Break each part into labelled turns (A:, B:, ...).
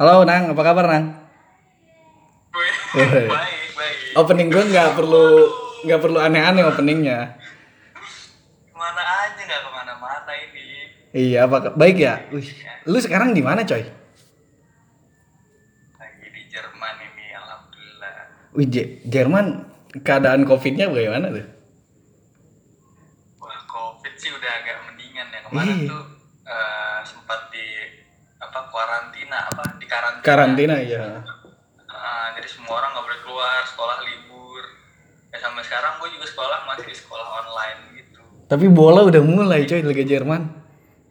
A: Halo Nang, apa kabar Nang?
B: Baik, baik.
A: Opening gue nggak perlu nggak perlu aneh-aneh openingnya.
B: Kemana aja nggak kemana-mana ini.
A: Iya, apa baik ya? Wih, lu sekarang di mana coy?
B: Lagi di Jerman ini, alhamdulillah.
A: Wih, Je- Jerman keadaan covidnya bagaimana tuh?
B: Wah, covid sih udah agak mendingan ya kemarin
A: Iya.
B: tuh eh, sempat di apa karantina apa di karantina.
A: Karantina ya.
B: Eh, jadi semua orang nggak boleh keluar, sekolah libur. Ya sampai sekarang gue juga sekolah masih di sekolah online gitu.
A: Tapi bola udah mulai coy Liga Jerman.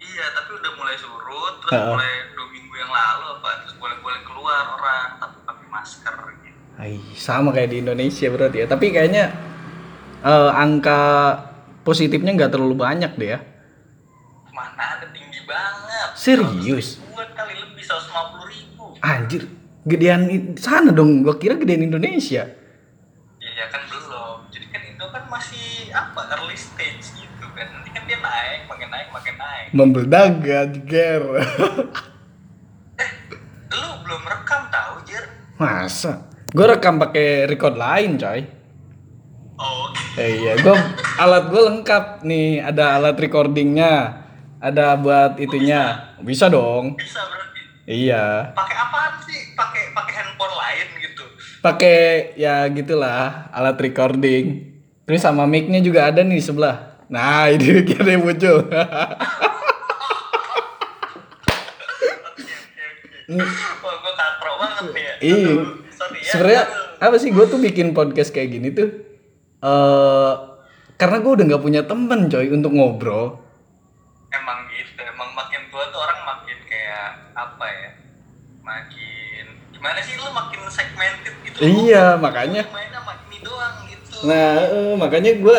B: Iya, tapi udah mulai surut, terus
A: Heeh.
B: mulai dua minggu yang lalu apa, terus boleh-boleh keluar orang, tapi pakai masker gitu.
A: Ai, sama kayak di Indonesia berarti ya. Tapi kayaknya eh, angka positifnya nggak terlalu banyak deh ya.
B: Mana ada tinggi banget.
A: Serius?
B: 100 ribuan kali lebih 150 ribu.
A: Anjir, gedean i- sana dong. Gua kira gedean Indonesia.
B: Iya kan belum. Jadi kan Indo kan masih apa early stage gitu kan. Nanti kan dia naik, makin naik, makin naik.
A: Membedak anjir.
B: Lu belum rekam tahu Jer?
A: Masa? Gue rekam pakai record lain coy.
B: Oh, Oke.
A: Eh, iya, gue alat gue lengkap nih. Ada alat recordingnya, ada buat itunya. Bisa dong.
B: Bisa berarti.
A: Iya.
B: Pakai apaan sih? Pakai pakai handphone lain gitu.
A: Pakai ya gitulah alat recording. Terus sama mic-nya juga ada nih di sebelah. Nah, ini kira muncul.
B: Oke, oke, oke. Wah, gua katro banget nih ya.
A: Iya.
B: Aduh, Sorry ya.
A: Sebenarnya
B: Aduh.
A: apa sih gue tuh bikin podcast kayak gini tuh? Eh karena gue udah nggak punya temen coy untuk ngobrol.
B: emang gitu emang makin tua tuh orang makin kayak apa ya makin gimana sih lu makin segmented gitu lu
A: Iya, makanya
B: mainnya makin ini doang gitu
A: Nah, eh, makanya gue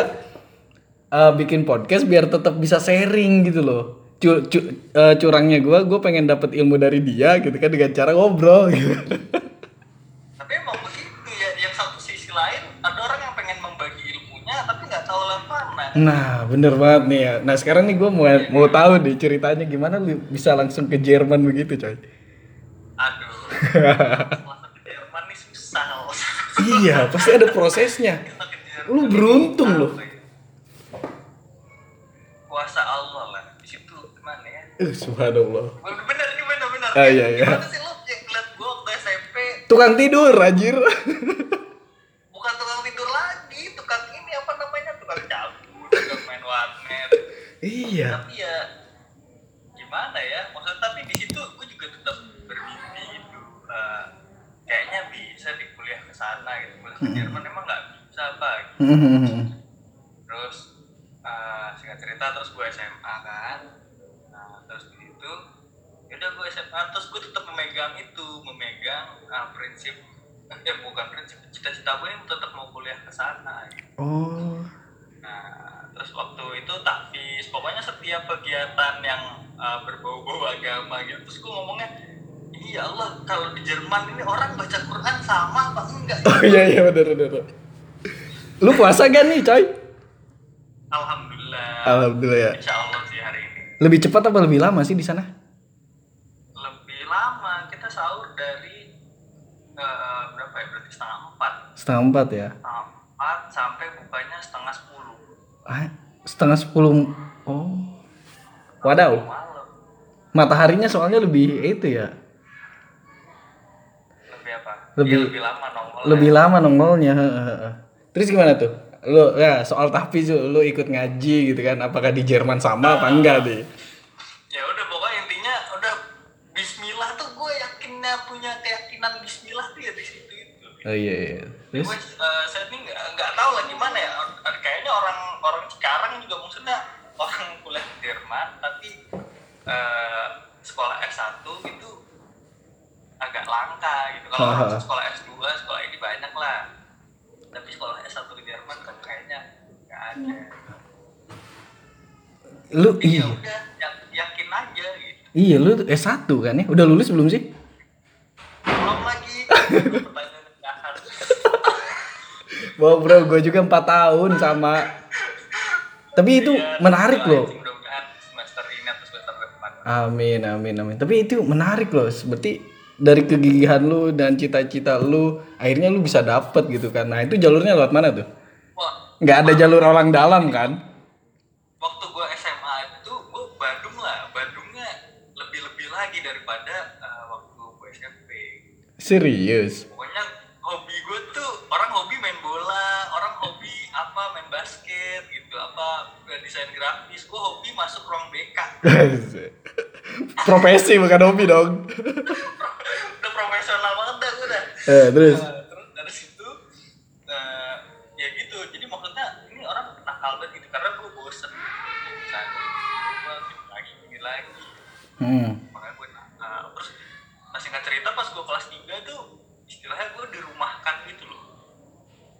A: bikin podcast biar tetap bisa sharing gitu loh. Cu- cu- eh, curangnya gue, gue pengen dapet ilmu dari dia gitu kan dengan cara ngobrol. Gitu.
B: tapi emang begitu ya yang satu sisi lain ada orang yang pengen membagi ilmunya tapi nggak tahu lah mana
A: Nah, bener banget nih ya. Nah, sekarang nih gue mau mau tahu deh ceritanya gimana lu bisa langsung ke Jerman begitu, coy.
B: aduh masuk ke Jerman nih susah loh
A: iya, pasti ada prosesnya.
B: Masuk ke Jerman
A: Lu beruntung
B: apa
A: loh.
B: ya? kuasa Allah lah di situ gimana ya
A: Eh, subhanallah.
B: Bener, bener, ini bener, bener.
A: Ah, iya, iya.
B: Gimana sih lu yang ngeliat gue waktu SMP?
A: Tukang tidur, anjir.
B: Bukan tukang tidur lagi, tukang ini apa namanya? Tukang cabut, tukang main warnet.
A: iya.
B: tapi ya, gimana ya? Maksudnya, tapi di situ gue juga tetap bermimpi gitu. Eh, kayaknya bisa di kuliah ke sana gitu. Kuliah ke Jerman emang nggak bisa, Pak. terus eh singkat cerita terus gue SMA kan nah, terus ya begitu yaudah gue SMA terus gue tetap memegang itu memegang eh, prinsip ya bukan prinsip cita-cita gue yang tetap mau kuliah ke sana gitu.
A: oh.
B: nah terus waktu itu takfis pokoknya setiap kegiatan yang eh, berbau-bau agama gitu terus gue ngomongnya ini ya Allah kalau di Jerman ini orang baca Quran sama apa enggak
A: Oh iya iya bener bener. bener. Lu puasa gak nih, coy?
B: Alhamdulillah
A: Alhamdulillah ya.
B: Insya Allah sih hari ini
A: Lebih cepat apa lebih lama sih di sana?
B: lebih lama kita sahur dari eh, berapa ya berarti setengah empat
A: Setengah empat ya.
B: setengah empat sampai bukanya setengah sepuluh
A: Ah, setengah sepuluh. Oh. Wadaw.
B: malam
A: Mataharinya soalnya lebih itu ya.
B: lebih apa
A: Lebih-
B: Iya, lebih lama nongol
A: Lebih lama nongolnya. heeh, heeh. Terus gimana tuh? Lu ya soal tahfiz lu ikut ngaji gitu kan. Apakah di Jerman sama apa enggak deh?
B: ya udah pokoknya intinya udah Bismillah tuh gue yakinnya punya keyakinan Bismillah tuh ya di situ itu
A: Oh iya iya. Terus
B: gue eh, saat ini nggak nggak tahu lah gimana ya Or- or- kayaknya orang orang sekarang juga maksudnya orang kuliah di Jerman tapi eh, sekolah S1 itu agak langka gitu kalau
A: Haha.
B: orang sekolah S2 sekolah ini banyak lah tapi sekolah S1 di Jerman kan kayaknya nggak ada
A: lu
B: Jadi ya
A: iya.
B: udah ya- yakin aja gitu
A: Iya, lu tuh S1 kan ya? Udah lulus belum sih?
B: belum lagi pertanyaan dasar
A: Wow bro, gue juga 4 tahun sama. Tapi itu
B: Iya,
A: menarik loh.
B: mudah-mudahan semester ini atau semester depan
A: Amin, amin, amin. Tapi itu menarik loh. Berarti dari kegigihan lu dan cita-cita lu akhirnya lu bisa dapet gitu kan nah itu jalurnya lewat mana tuh
B: Wah,
A: nggak ada jalur orang dalam kan
B: waktu gue SMA itu gue Bandung lah Bandungnya lebih-lebih lagi daripada eh, waktu gue SMP
A: serius
B: pokoknya hobi gue tuh orang hobi main bola orang hobi apa main basket gitu apa eh, desain grafis gue hobi masuk ruang BK
A: profesi bukan hobi dong
B: udah profesional banget dah gue dah
A: eh, terus
B: Nah, terus dari situ eh, ya gitu jadi maksudnya ini orang nakal banget gitu karena gue bosen Nah, gue gini lagi gini lagi
A: hmm.
B: makanya gue nakal terus nah, singkat cerita pas gue kelas 3 tuh istilahnya gue dirumahkan gitu loh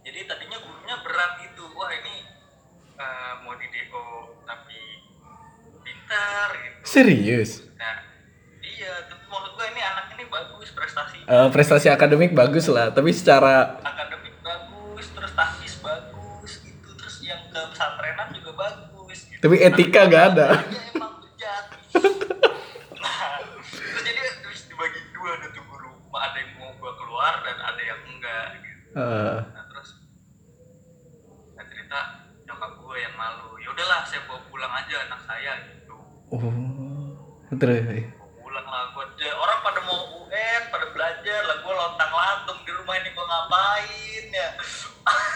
B: jadi tadinya gurunya berat gitu wah ini eh, mau di DO tapi pintar gitu
A: serius
B: nah iya tapi maksud gue ini anak ini bagus prestasinya
A: Eh, prestasi akademik bagus lah tapi secara
B: akademik bagus terus tahfiz bagus gitu terus yang ke pesantrenan juga bagus gitu.
A: Tapi etika nggak ada.
B: Iya, emang bejat nah terus jadi terus dibagi dua ada tuh guru ada yang mau gua keluar dan ada yang enggak gitu
A: eh,
B: nah terus nah, cerita nyokap gue yang malu ya udahlah saya bawa pulang aja anak saya gitu
A: oh terus
B: Bawa pulang lah gue orang pada mau UN pada belajar lah gue lontang lantung di rumah ini gue ngapain ya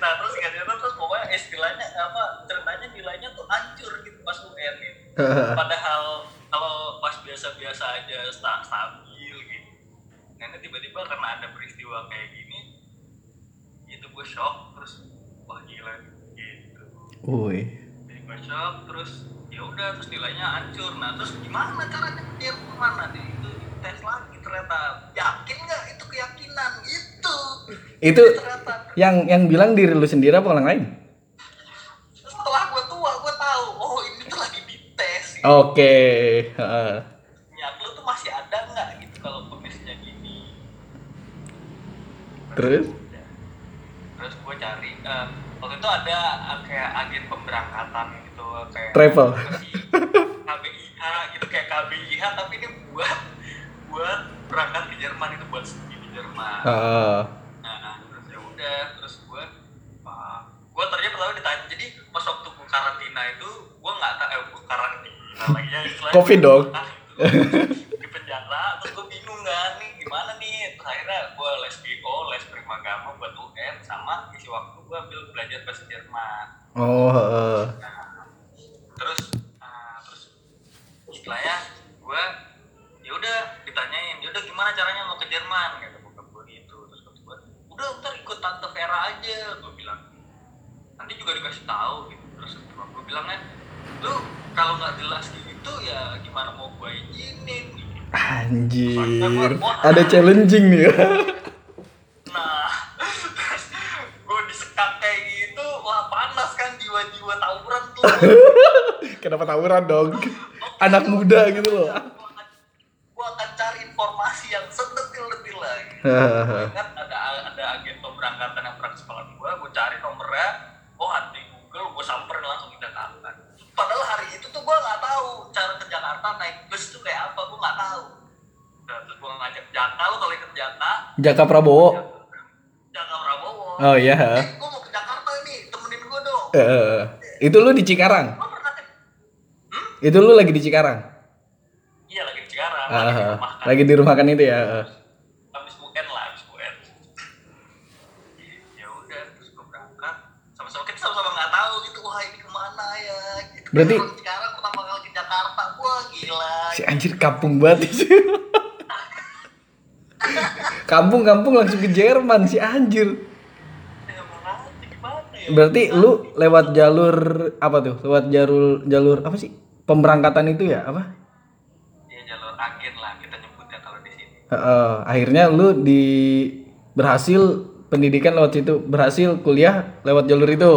B: nah terus gak terus pokoknya istilahnya apa ceritanya nilainya tuh hancur gitu pas UN gitu
A: eh,
B: padahal kalau pas biasa-biasa aja sta- stabil gitu nah ini tiba-tiba karena ada peristiwa kayak gini itu gue shock terus wah gila gitu
A: woi
B: jadi gue shock terus ya udah terus nilainya hancur nah terus gimana caranya clear kemana nih itu tes lagi ternyata yakin nggak itu keyakinan itu
A: itu
B: ternyata
A: yang yang bilang diri lu sendiri apa orang lain
B: setelah gue tua gue tahu oh ini tuh lagi dites gitu.
A: oke heeh.
B: minyak lu tuh masih ada nggak gitu kalau kumisnya gini
A: terus
B: Udah. terus gue cari eh, waktu itu ada eh, kayak agen pemberangkatan gitu kayak
A: Travel.
B: KBIH gitu kayak KBIH tapi ini buat buat berangkat ke Jerman itu buat studi di Jerman
A: Heeh.
B: nah terus ya udah terus gue uh, gue ternyata pertama ditanya jadi pas waktu gue karantina itu gue nggak tahu eh, gue karantina lagi ya istilahnya
A: Covid
B: gua
A: dong.
B: nggak tahu gitu. di penjara terus gue bingung kan nih gimana nih terus akhirnya gue les BO les prima gama buat UN sama isi waktu gue ambil belajar bahasa Jerman
A: oh heeh.
B: Nah, terus ah, terus setelahnya gue ya udah ditanyain ya udah gimana caranya mau ke Jerman kata bokap gue gitu terus kata gue udah ntar ikut tante Vera aja gue bilang nanti juga dikasih tahu gitu terus bokap gue bilang kan lu kalau nggak jelas gitu ya gimana mau gue izinin gitu.
A: anjir ada challenging nih
B: Nah, terus gue disekak kayak gitu, wah panas kan jiwa-jiwa tawuran tuh.
A: kenapa tawuran dong anak muda gitu loh
B: Gua akan- Gua akan cari informasi yang sedetil-detil lagi.
A: Hahaha.
B: Kan ada ada agen pemberangkatan yang berangkat sekolah gua, gua cari nomornya, oh ada di Google, gua samperin langsung ke Jakarta. Padahal hari itu tuh gua nggak tahu cara ke Jakarta naik bus tuh kayak apa, gua nggak tahu. Nah, terus gua ngajak Jaka, lo kalau ikut Jaka,
A: Jaka Prabowo
B: Jaka Prabowo.
A: oh iya
B: Eh, gua mau ke Jakarta nih, temenin gua dong.
A: Heeh. itu lu di Cikarang
B: Lo pernah ke- Hmm?
A: itu lu lagi di Cikarang
B: Iya lagi di Cikarang, lagi di
A: Heeh.
B: rumah kan.
A: lagi di rumah kan itu ya heeh.
B: habis UN lah habis UN ya udah terus gue berangkat sama-sama kita sama-sama nggak tahu gitu wah ini kemana ya gitu
A: Berarti-
B: Terus sekarang pertama kali ke Jakarta wah gila
A: si anjir kampung banget sih kampung-kampung langsung ke Jerman si anjir
B: ya malah gimana ya
A: Berarti lu lewat jalur apa tuh? Lewat jalur jalur apa sih? Pemberangkatan itu ya apa?
B: ya jalur agen lah kita nyebutnya kalau di sini
A: Heeh, akhirnya lu di berhasil pendidikan lewat situ, berhasil kuliah lewat jalur itu.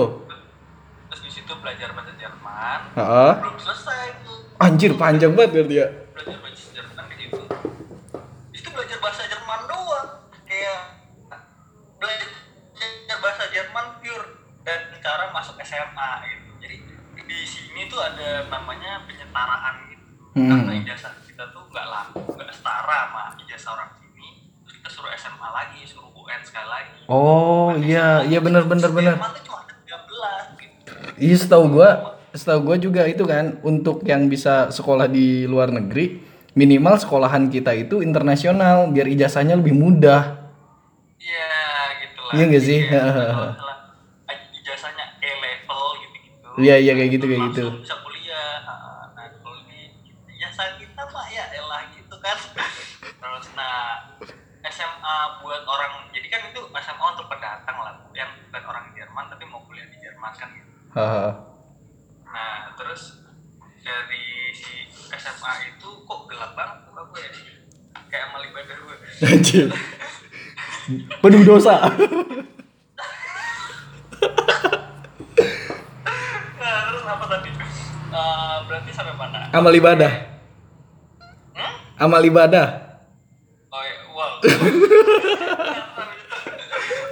B: terus di situ belajar bahasa Jerman
A: Heeh.
B: belum selesai tuh
A: Anjir panjang banget berarti ya.
B: belajar bahasa Jerman di situ di situ belajar bahasa Jerman doang kayak belajar bahasa Jerman pure dan cara masuk SMA gitu jadi di sini tuh ada namanya penyetaraan gitu
A: Hmm.
B: karena ijazah kita tuh nggak laku nggak setara setara sama ijazah orang sini terus kita suruh SMA lagi suruh UN sekali lagi
A: Oh iya iya benar benar benar.
B: SMA tuh cuma ada 13 gitu
A: Iya setahu gua setahu gua juga itu kan untuk yang bisa sekolah di luar negeri minimal sekolahan kita itu internasional biar ijazahnya lebih mudah.
B: iya gitu lah
A: Iya nggak sih?
B: Jadi kayak kalau misalnya ijazahnya E level gitu gitu
A: Iya iya kayak gitu kayak gitu.
B: langsung bisa kuliah Ah, nah kalau di ijazah kita pak ya elah gitu kan terus nah SMA buat orang jadi kan itu SMA untuk pendatang lah yang bukan orang Jerman tapi mau kuliah di Jerman kan gitu
A: Haha.
B: Nah, terus dari si SMA itu kok gelap banget muka gue ya? Kayak amal ibadah gue.
A: Anjir. Penuh dosa.
B: Nah, terus apa tadi? Eh, berarti sampai mana?
A: Amal ibadah.
B: Hmm?
A: Amal ibadah.
B: Oh ya, wow.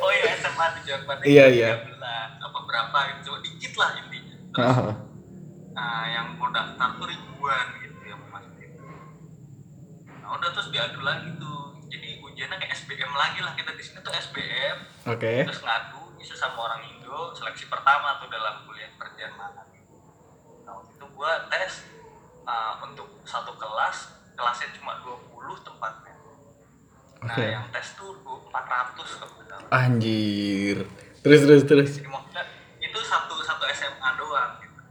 B: oh ya, SMA di Jerman. itu
A: Iya, iya.
B: 13, Apa berapa gitu, cuma dikit lah intinya. Terus
A: Haha.
B: nah, yang mau daftar tuh ribuan gitu yang mau masuk itu. Nah, udah terus diadu lagi tuh. Jadi ujiannya kayak SBM lagi lah kita di sini tuh SBM.
A: Oke.
B: terus ngadu ini sesama orang Indo seleksi pertama tuh dalam kuliah perjalanan nah waktu itu gua tes uh, untuk satu kelas kelasnya cuma 20 tempatnya nah
A: Oke.
B: yang tes tuh 400 kebetulan
A: Anjir. Terus terus terus.
B: jadi maksudnya itu satu satu SMA doang gitu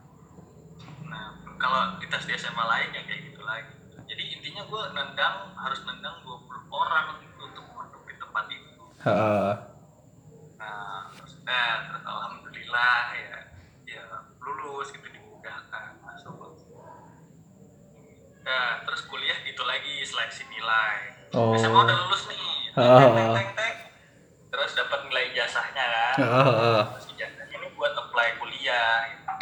B: nah kalau kita di SMA lain ya kayak gitu lagi jadi intinya gua nendang harus nendang 20 orang gitu untuk menutupi tempat itu
A: Haha.
B: Nah, terus udah, terus alhamdulillah ya, ya lulus gitu dimudahkan masuk. Nah, terus kuliah gitu lagi seleksi nilai.
A: Oh.
B: SMA udah lulus nih,
A: Ah.
B: teng, teng, teng, teng. terus dapat nilai jasanya
A: Ah.
B: kan.
A: Haha.
B: Terus ijazahnya ini buat apply kuliah. Gitu.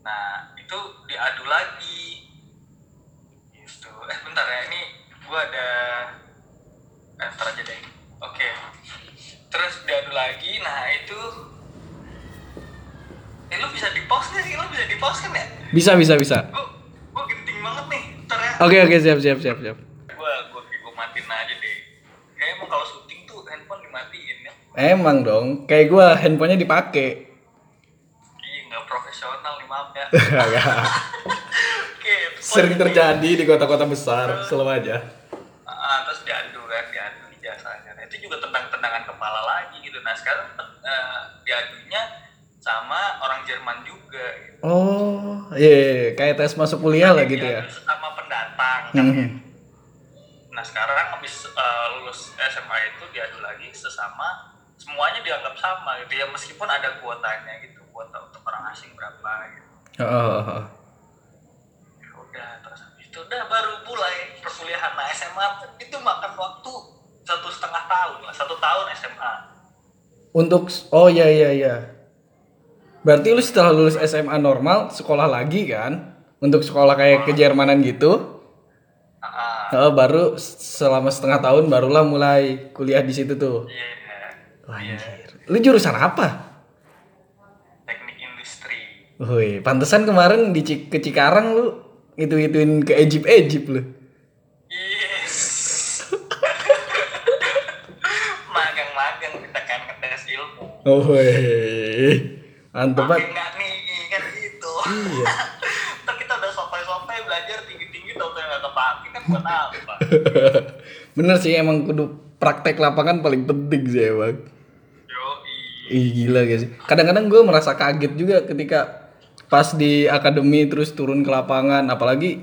B: Nah, itu diadu lagi. Gitu. Eh, bentar ya, ini gua ada eh, ntar aja deh. Oke. Terus diadu lagi. Nah, itu Eh, lu bisa di-pause nggak sih? Lu bisa di-pause kan ya?
A: Bisa bisa bisa.
B: Gua, gua genting banget nih. Ntar ya.
A: Oke oke siap siap siap siap.
B: Gua, gua, gua matiin aja deh. Kayaknya emang kalau syuting tuh handphone dimatiin ya.
A: Emang dong, kayak gua handphonenya dipakai.
B: Iya, nggak profesional nih, maaf ya. Oke,
A: Sering
B: poin ini.
A: terjadi di kota-kota besar, selalu aja.
B: Ah, terus diadu kan, diadu ijazahnya. Nah, itu juga tendang-tendangan kepala lagi gitu. Nah, sekarang eh, diadunya sama orang Jerman juga gitu.
A: Oh, iya, iya, iya. kayak tes masuk kuliah lah gitu ya.
B: Diadu Sama pendatang.
A: Hmm.
B: Nah, sekarang habis eh, lulus SMA itu diadu lagi sesama semuanya dianggap sama gitu ya meskipun ada kuotanya gitu kuota untuk orang asing berapa gitu
A: Oh, oh, oh.
B: Ya udah terus habis itu udah baru mulai perkuliahan nah SMA itu makan waktu satu setengah tahun lah satu tahun SMA
A: Untuk oh iya iya iya. Berarti lu setelah lulus SMA normal sekolah lagi kan? Untuk sekolah kayak kejermanan gitu.
B: Ah,
A: Oh, baru selama setengah tahun barulah mulai kuliah di situ tuh.
B: iya
A: Oh, Anjir. Lu jurusan apa?
B: teknik industri
A: Woi, pantesan kemarin di Cik- ke Cikarang lu itu-ituin ke Ejip-Ejip lu.
B: yes magang-magang kita kan ngetes ilmu
A: Oh, woi. Mantep
B: tapi
A: banget.
B: nggak nih kan gitu
A: Iya.
B: ntar kita udah sopai-sopai belajar tinggi-tinggi tau nggak kepake kan buat apa
A: Bener sih emang kudu praktek lapangan paling penting sih emang.
B: yoi
A: Ih gila guys. Kadang-kadang gue merasa kaget juga ketika pas di akademi terus turun ke lapangan, apalagi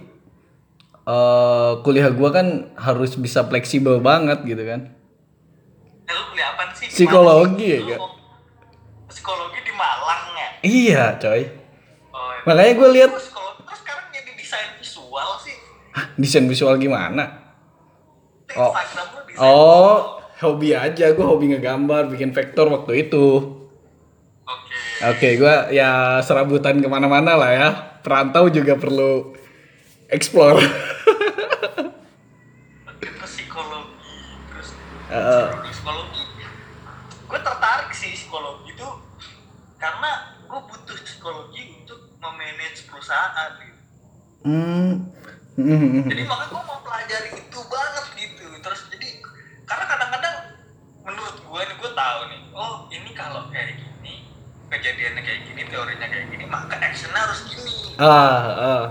A: eh kuliah gue kan harus bisa fleksibel banget gitu kan.
B: Eh, lu beli apa sih?
A: Psikologi ya,
B: Lu
A: Kak?
B: mau- Psikologi di Malang ya?
A: Iya coy.
B: Oh, ya.
A: Makanya gue lihat
B: Terus psikologi terus sekarang jadi desain visual sih.
A: "Hah, desain visual gimana?
B: Di
A: Oh.
B: Instagram lu desain visual.
A: Oh hobi aja gue hobi ngegambar bikin vektor waktu itu.
B: Oke.
A: Oke, gua ya serabutan kemana-mana lah ya. Perantau juga perlu explore.
B: Oke, terus psikologi, terus
A: Eh.
B: psikologi, psikologi. Gue tertarik sih psikologi itu karena gue butuh psikologi untuk memanage perusahaan gitu.
A: hmm.
B: Jadi makanya gue mau pelajari itu banget oh,
A: ah ah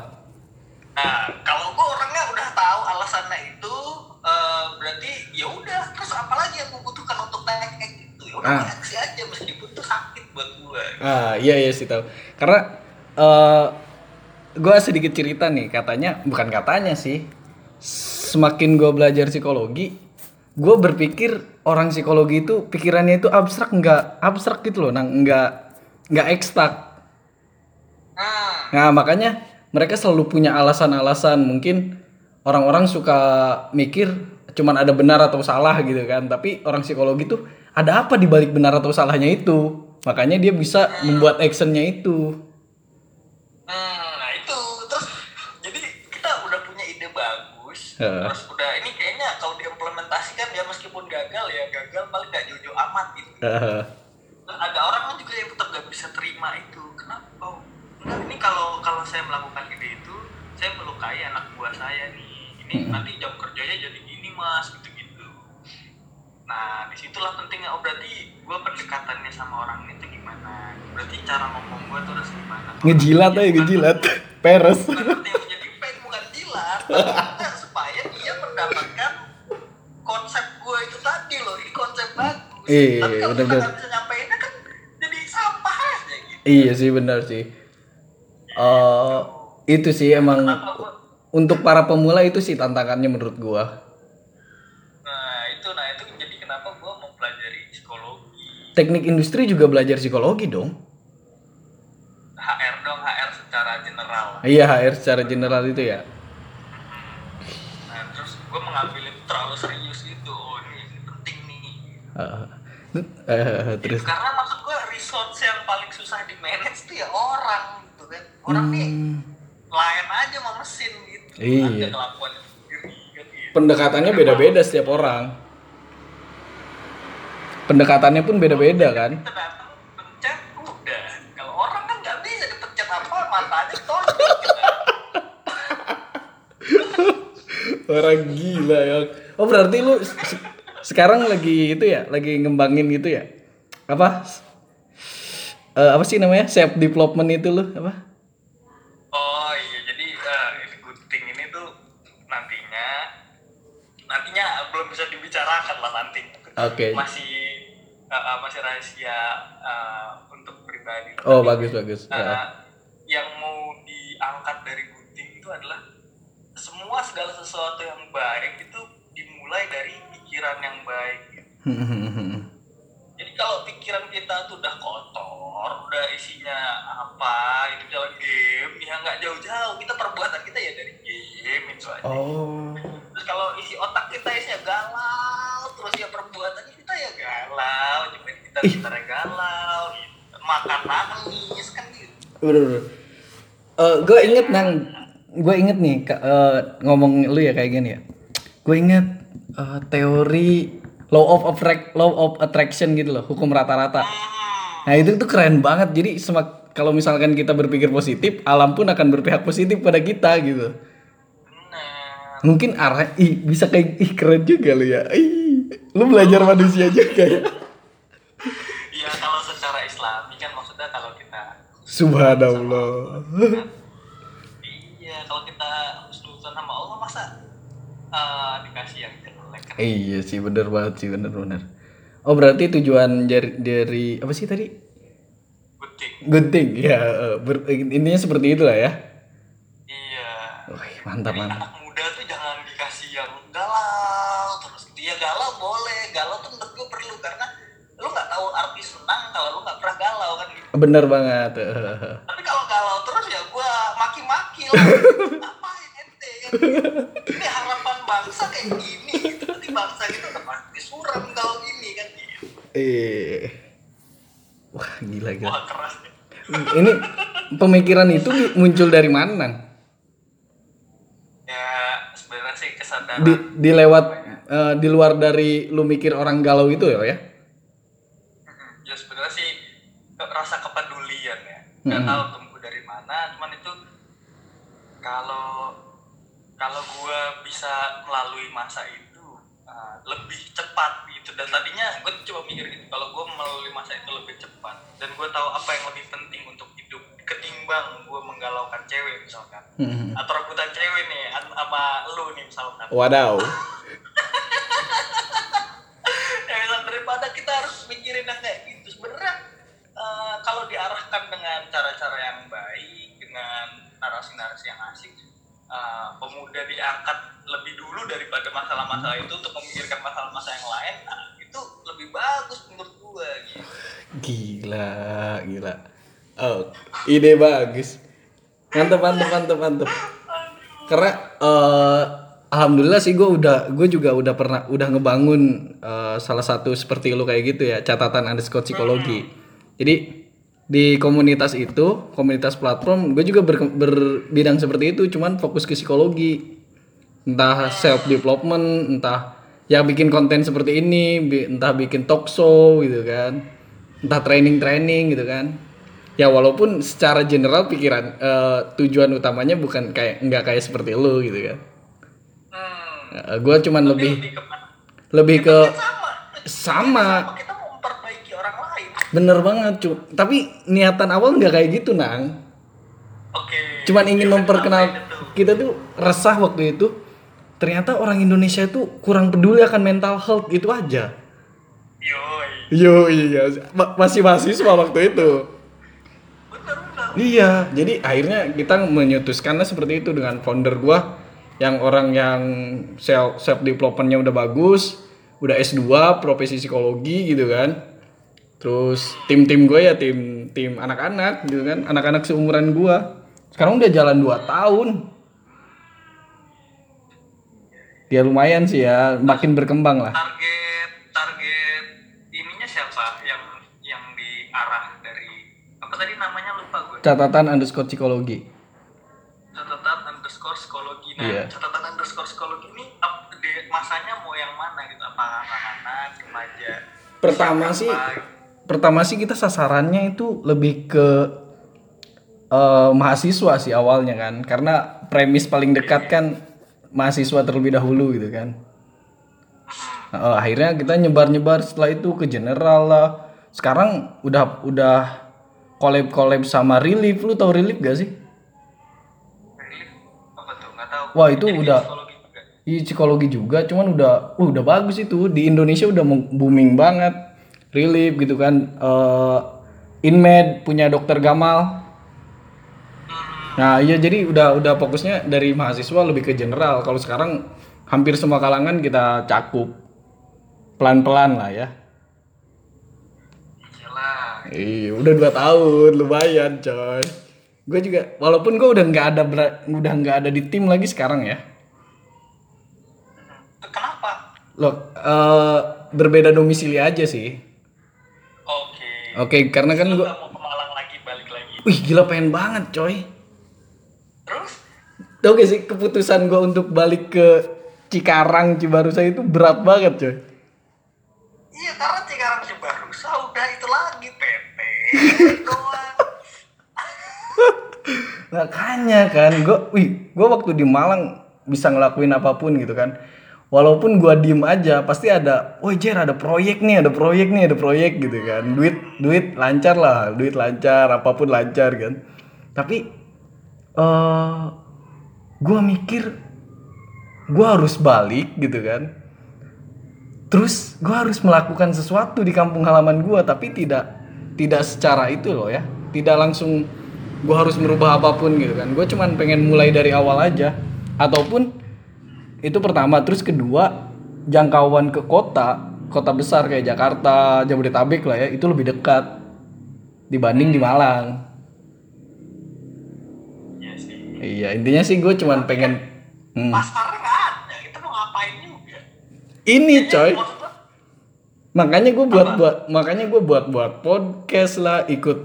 B: Nah, kalau gue orangnya udah tahu alasannya itu, eh, berarti ya udah. Terus apalagi yang gue butuhkan untuk naik kayak gitu? Ya udah
A: Ah.
B: naik sih aja, meskipun itu sakit buat gue.
A: ah iya iya sih tahu karena eh gue sedikit cerita nih katanya bukan katanya sih semakin gue belajar psikologi gue berpikir orang psikologi itu pikirannya itu abstrak nggak abstrak gitu loh nang nggak nggak ekstrak
B: Hmm,
A: Nah, makanya mereka selalu punya alasan-alasan. Mungkin orang-orang suka mikir cuman ada benar atau salah gitu kan. Tapi orang psikologi tuh ada apa di balik benar atau salahnya itu. Makanya dia bisa membuat actionnya itu.
B: hmm, nah itu. Terus jadi kita udah punya ide bagus.
A: Heeh.
B: Terus udah ini kayaknya kalau diimplementasikan ya meskipun gagal ya gagal paling nggak jojo amat gitu.
A: Heeh.
B: Nah, ada orang kan juga yang tetap nggak bisa terima itu kenapa oh enggak ini kalau kalau saya melakukan ide itu saya melukai anak buah saya nih ini nanti jam kerjanya jadi gini mas gitu gitu nah disitulah pentingnya oh berarti gue pendekatannya sama orang itu gimana berarti cara ngomong gue tuh harus gimana
A: ngejilat aja
B: Bukan-
A: ngejilat. Peres.
B: bukan berarti yang menjadi fan bukan jilat Maksudnya supaya dia mendapatkan konsep gue itu tadi loh ini konsep bagus
A: Iya,
B: tapi kalau kita
A: bener-bener.
B: nggak bisa nyampeinnya kan jadi sampah aja gitu
A: iya sih benar sih. Eh itu sih emang
B: Kenapa gua-
A: untuk para pemula itu sih tantangannya menurut gua.
B: nah itu nah itu jadi kenapa gue mempelajari psikologi
A: Teknik industri juga belajar psikologi dong.
B: HR dong HR secara general
A: Iya HR secara general itu ya.
B: nah terus gue mengambil itu terlalu serius itu oh ini, ini penting nih
A: Heeh. Eh, terus
B: karena maksud gue resource yang paling susah di manage tuh ya orang gitu kan orang nih lain aja sama mesin gitu
A: Iya.
B: ada kelakuan sendiri kan gitu
A: pendekatannya beda-beda setiap orang. Pendekatannya pun beda-beda kan.
B: kita datang pencet udah kalau orang kan nggak bisa dipencet apa matanya tonjok gitu
A: Orang gila ya. Oh berarti lu se- sekarang lagi itu ya, lagi ngembangin gitu ya? Apa? Eh, apa sih namanya? Self development itu lu apa?
B: oh iya jadi eh, ini good thing ini tuh nantinya nantinya belum bisa dibicarakan lah nanti
A: Oke.
B: masih eh, eh, masih rahasia eh, untuk pribadi
A: Oh bagus bagus. Ya.
B: Nah, yang mau diangkat dari gunting itu adalah semua segala sesuatu yang baik itu dimulai dari pikiran yang baik. gitu. Jadi kalau pikiran kita tuh udah kotor, udah isinya apa, itu dalam game, ya nggak jauh-jauh. Kita perbuatan kita ya dari game itu aja.
A: oh.
B: Terus kalau isi otak kita isinya galau, terus ya perbuatannya kita ya galau, nyepet kita kita galau, gitu. makan nangis kan gitu.
A: Udah, udah. gue inget nang, gue inget nih Kak, eh, ngomong lu ya kayak gini ya. Gue inget eh, teori law of attract, law of attraction gitu loh, hukum rata-rata. Nah itu tuh keren banget. Jadi semak kalau misalkan kita berpikir positif, alam pun akan berpihak positif pada kita gitu.
B: Benar.
A: Mungkin arah ih bisa kayak ih keren juga lu ya. Ih, lu belajar manusia juga ya.
B: Iya kalau secara Islami kan maksudnya kalau kita
A: Subhanallah.
B: iya kalau kita husnuzon sama Allah masa eh, dikasih yang jelek kan?
A: Iya sih bener banget sih bener bener. Oh berarti tujuan dari, dari apa sih tadi?
B: Butik.
A: Good thing ya. eh, ber- intinya seperti itulah ya.
B: Iya.
A: Wah mantap
B: Jadi
A: mantap.
B: anak muda tuh jangan dikasih yang galau terus dia galau boleh galau tuh menurut gue perlu karena lu nggak tahu arti senang kalau lu nggak pernah galau kan gitu.
A: Bener banget. eh.
B: Tapi kalau galau terus ya gua maki-maki lah. Ngapain ente? kan? Ini harapan bangsa kayak gini. Gitu. Nanti bangsa kita udah pasti suram kalau gini kan. Gitu.
A: Eh. Wah gila gila.
B: Wah keras nih.
A: Ini pemikiran itu muncul dari mana?
B: Ya sebenarnya sih kesadaran.
A: Di, di lewat eh, di luar dari lu mikir orang galau itu ya, ya?
B: Mm-mm. Ya sebenarnya sih ke- rasa kepedulian ya. Gak tahu tumbuh dari mana. Cuman itu kalau kalau gua bisa melalui masa itu uh, lebih cepat gitu dan tadinya gue coba mikir gitu kalau gue melalui masa itu lebih cepat dan gue tahu apa yang lebih penting untuk hidup keting ketimbang gue menggalaukan cewek misalkan
A: Hmm.
B: atau rebutan cewek nih an- sama lu nih misalkan
A: Wadaw.
B: ya bilang, daripada kita harus mikirin yang kayak gitu sebenarnya eh, kalau diarahkan dengan cara-cara yang baik dengan narasi-narasi yang asik eh, pemuda diangkat lebih dulu daripada masalah-masalah itu untuk memikirkan masalah-masalah yang lain nah, itu lebih bagus menurut gua gitu
A: Gila, gila. Oh, ide bagus. Mantep, mantep, mantep, mantep. Karena eh, alhamdulillah sih gue udah gue juga udah pernah udah ngebangun eh, salah satu seperti lu kayak gitu ya catatan underscore psikologi. Jadi di komunitas itu komunitas platform gue juga berke- berbidang seperti itu cuman fokus ke psikologi entah self development entah ya bikin konten seperti ini bi- entah bikin talk show gitu kan entah training training gitu kan ya walaupun secara general pikiran eh, tujuan utamanya bukan kayak nggak kayak seperti lu gitu kan
B: hmm,
A: gue cuman lebih
B: lebih ke mana?
A: lebih ke
B: sama
A: sama
B: Sama, kita mau memperbaiki orang lain
A: bener banget cu tapi niatan awal nggak kayak gitu nang
B: oke
A: cuman ingin
B: Dia
A: memperkenal
B: udah sampai itu.
A: kita tuh resah waktu itu ternyata orang Indonesia itu kurang peduli akan mental health itu aja
B: yoi
A: yo iya Ma- masih mahasiswa waktu itu
B: bener bener
A: iya jadi akhirnya kita menyetuskannya seperti itu dengan founder gua yang orang yang self self developmentnya udah bagus udah S2 profesi psikologi gitu kan terus tim-tim gue ya tim tim anak-anak gitu kan anak-anak seumuran gua sekarang udah jalan 2 tahun dia lumayan sih ya makin berkembang lah
B: target target ininya siapa yang yang diarah dari apa tadi namanya lupa gue
A: catatan underscore psikologi
B: catatan underscore psikologi nah
A: Iya.
B: catatan underscore psikologi ini up, di, masanya mau yang mana gitu apa anak-anak remaja
A: pertama sih pertama sih kita sasarannya itu lebih ke eh, mahasiswa sih awalnya kan karena premis paling dekat kan mahasiswa terlebih dahulu gitu kan Eh, akhirnya kita nyebar-nyebar setelah itu ke general lah sekarang udah udah collab collab sama relief lu tau relief gak sih
B: relief apa tuh nggak tahu
A: Wah, itu udah-
B: psikologi juga
A: Iya psikologi juga, cuman udah, uh, udah bagus itu di Indonesia udah meng- booming banget, relief gitu kan. Eh, Inmed punya dokter Gamal. Nah iya jadi udah udah fokusnya dari mahasiswa lebih ke general. Kalau sekarang hampir semua kalangan kita cakup, pelan-pelan lah ya.
B: iyalah
A: Iya, udah dua tahun, lumayan coy. Gue juga, walaupun gue udah nggak ada bera- udah nggak ada di tim lagi sekarang ya.
B: Tuh, kenapa
A: Loh, eh, berbeda domisili aja sih.
B: oke
A: Oke, karena kan
B: Lu
A: gue,
B: nggak mau ke Malang lagi balik lagi
A: wih gila pengen banget coy.
B: terus
A: Tau gak sih keputusan gue untuk balik ke Cikarang Cibarusah itu berat banget coy.
B: Iya karena Cikarang Cibarusah udah itu lagi PP doang.
A: Makanya kan gue, wih gue waktu di Malang bisa ngelakuin apapun gitu kan. Walaupun gue diem aja pasti ada, woi Jer ada proyek nih, ada proyek nih, ada proyek gitu kan. Duit duit lancar lah, duit lancar, apapun lancar kan. Tapi eh gue mikir gue harus balik gitu kan terus gue harus melakukan sesuatu di kampung halaman gue tapi tidak tidak secara itu loh ya tidak langsung gue harus merubah apapun gitu kan gue cuman pengen mulai dari awal aja ataupun itu pertama terus kedua jangkauan ke kota kota besar kayak Jakarta Jabodetabek lah ya itu lebih dekat dibanding
B: Hmm.
A: di Malang
B: Iya sih. Iya.
A: iya intinya sih gue cuman pengen Hmm.
B: Pasarnya nggak ada. Kita mau ngapain juga?
A: ini coy
B: Maksud lo,
A: makanya gue buat buat makanya gue buat buat podcast lah ikut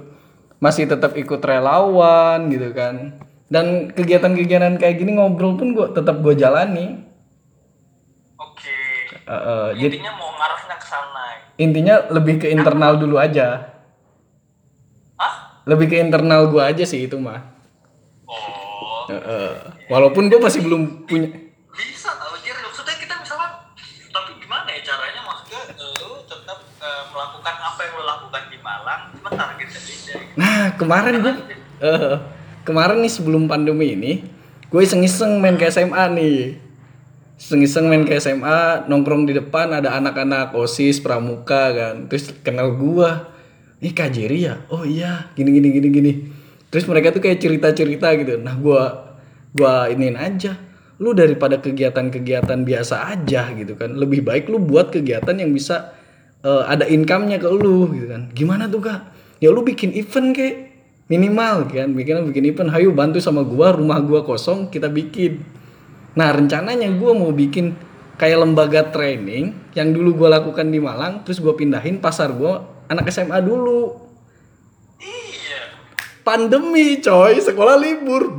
A: masih tetap ikut relawan gitu kan dan kegiatan-kegiatan kayak gini ngobrol pun gue tetap gue jalani
B: Oke.
A: Eh, eh, jadi
B: Intinya mau ngarahnya ke sana.
A: intinya lebih ke internal dulu aja
B: Hah?
A: lebih ke internal gue aja sih itu mah
B: Oh.
A: Eh, eh, walaupun gue masih belum punya
B: Bisa tau Jir. Maksudnya kita misalnya tapi gimana ya caranya maksudnya lo tetap eh, melakukan apa yang lo lakukan di Malang cuma targetnya beda gitu.
A: nah kemarin gue eh, kemarin nih sebelum pandemi ini gue iseng-iseng main ke SMA nih iseng-iseng main ke SMA nongkrong di depan ada anak-anak osis pramuka kan terus kenal gua ini Kak Jerry ya oh iya gini gini gini gini terus mereka tuh kayak cerita-cerita gitu nah gua gua iniin aja lu daripada kegiatan-kegiatan biasa aja gitu kan lebih baik lu buat kegiatan yang bisa eh, ada income-nya ke lu gitu kan gimana tuh kak ya lu bikin event kek minimal kan bikin bikin event hayu bantu sama gua rumah gua kosong kita bikin Nah rencananya gue mau bikin kayak lembaga training yang dulu gue lakukan di Malang, terus gue pindahin pasar gue anak SMA dulu.
B: Iya.
A: Pandemi coy, sekolah libur.